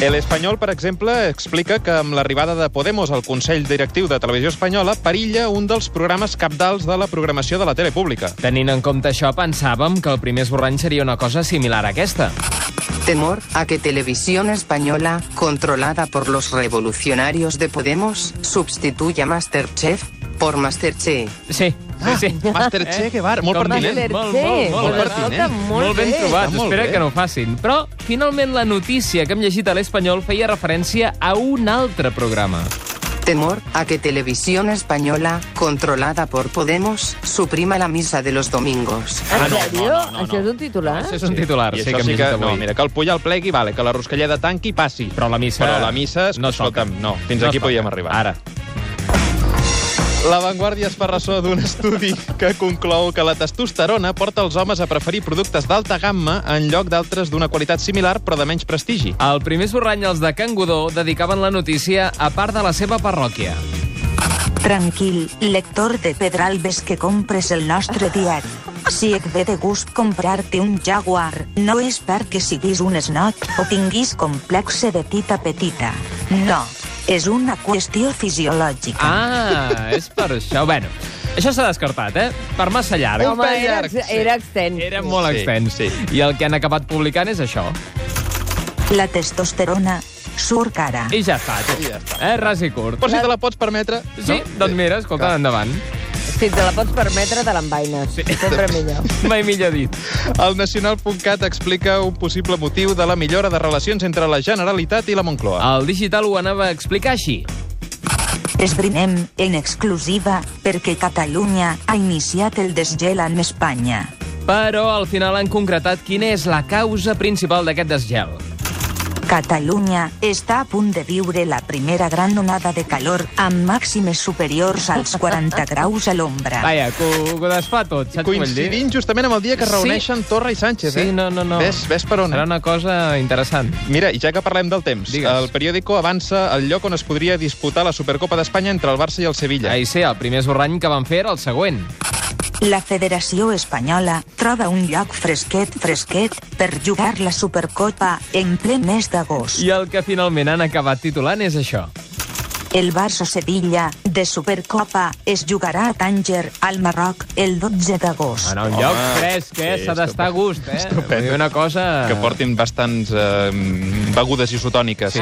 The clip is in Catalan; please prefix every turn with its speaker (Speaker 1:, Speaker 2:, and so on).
Speaker 1: El Espanyol, per exemple, explica que amb l'arribada de Podemos al Consell Directiu de Televisió Espanyola perilla un dels programes capdals de la programació de la tele pública.
Speaker 2: Tenint en compte això, pensàvem que el primer esborrany seria una cosa similar a aquesta.
Speaker 3: Temor a que Televisión Española, controlada por los revolucionarios de Podemos, substituya Masterchef por Masterchef.
Speaker 2: Sí, Ah, sí,
Speaker 1: Ah,
Speaker 2: sí. Eh?
Speaker 1: Masterchef, que bar, molt
Speaker 2: Com
Speaker 1: pertinent.
Speaker 2: dient, Molt,
Speaker 4: Masterchef.
Speaker 2: molt, molt,
Speaker 1: Molt
Speaker 2: pertinent.
Speaker 1: pertinent.
Speaker 2: Molt, ben
Speaker 1: bé,
Speaker 2: trobat,
Speaker 1: està molt
Speaker 2: espera
Speaker 1: bé.
Speaker 2: que no ho facin. Però, finalment, la notícia que hem llegit a l'Espanyol feia referència a un altre programa.
Speaker 3: Temor a que Televisión Española, controlada por Podemos, suprima la misa de los domingos.
Speaker 4: En
Speaker 1: Ah, no, no,
Speaker 4: sèrio?
Speaker 1: no, no,
Speaker 4: Això és un titular?
Speaker 2: Això és un titular,
Speaker 1: I
Speaker 2: sí,
Speaker 1: això
Speaker 2: que hem
Speaker 1: sí
Speaker 2: llegit
Speaker 1: que...
Speaker 2: avui.
Speaker 1: No, mira, que el Puyol plegui, vale, que la Ruscalleda tanqui i passi.
Speaker 2: Però la missa...
Speaker 1: Però la missa,
Speaker 2: no es toca.
Speaker 1: escolta'm, no, fins
Speaker 2: No
Speaker 1: aquí
Speaker 2: es toca.
Speaker 1: podíem arribar.
Speaker 2: Ara.
Speaker 1: La Vanguardia es fa ressò d'un estudi que conclou que la testosterona porta els homes a preferir productes d'alta gamma en lloc d'altres d'una qualitat similar però de menys prestigi.
Speaker 2: Al primer esborrany, els de Can Godó dedicaven la notícia a part de la seva parròquia.
Speaker 5: Tranquil, lector de Pedralbes que compres el nostre diari. Si et ve de gust comprar-te un Jaguar, no és perquè siguis un esnot o tinguis complexe de tita petita. No, és una qüestió fisiològica.
Speaker 2: Ah, és per això. Bueno, això s'ha descartat, eh? Per massa llarg.
Speaker 1: Un
Speaker 4: Home,
Speaker 1: pèl
Speaker 4: era,
Speaker 1: llarg,
Speaker 4: ex-
Speaker 1: sí.
Speaker 4: era extens.
Speaker 2: Era molt
Speaker 1: Sí,
Speaker 2: extens.
Speaker 1: sí.
Speaker 2: I el que han acabat publicant és això.
Speaker 5: La testosterona surt cara.
Speaker 2: I ja està. tu.
Speaker 1: I ja està.
Speaker 2: Eh, ras i curt.
Speaker 1: Però si te la pots permetre...
Speaker 2: Sí, doncs mira, escolta,
Speaker 1: Clar.
Speaker 2: endavant.
Speaker 4: Si te la pots permetre, te l'envaines. Sí. Sempre millor.
Speaker 2: Mai millor dit.
Speaker 1: El nacional.cat explica un possible motiu de la millora de relacions entre la Generalitat i la Moncloa.
Speaker 2: El digital ho anava a explicar així.
Speaker 5: Esbrinem en exclusiva perquè Catalunya ha iniciat el desgel amb Espanya.
Speaker 2: Però al final han concretat quina és la causa principal d'aquest desgel.
Speaker 5: Catalunya està a punt de viure la primera gran onada de calor amb màximes superiors als 40 graus a l'ombra.
Speaker 2: Vaja, que ho, que ho desfà tot, saps què vull dir?
Speaker 1: Coincidint justament amb el dia que es
Speaker 2: Sí.
Speaker 1: reuneixen Torra i Sánchez,
Speaker 2: Sí,
Speaker 1: eh?
Speaker 2: no, no, no.
Speaker 1: Ves, ves per on. eh?
Speaker 2: Serà una cosa interessant.
Speaker 1: Mira, i ja que parlem del temps,
Speaker 2: Digues.
Speaker 1: el periòdico avança el lloc on es podria disputar la Supercopa d'Espanya entre el Barça i el Sevilla.
Speaker 2: Ahir sí, el primer esborrany que van fer era el següent.
Speaker 5: La Federació Espanyola troba un lloc fresquet, fresquet, per jugar la Supercopa en ple mes d'agost.
Speaker 2: I el que finalment han acabat titulant és això.
Speaker 5: El Barça-Sevilla de Supercopa es jugarà a Tànger, al Marroc, el 12 d'agost.
Speaker 2: Bueno, un lloc fresc, eh?
Speaker 1: sí,
Speaker 2: S'ha d'estar a gust, eh? Vull dir, Una cosa...
Speaker 1: Que portin bastants eh, begudes isotòniques.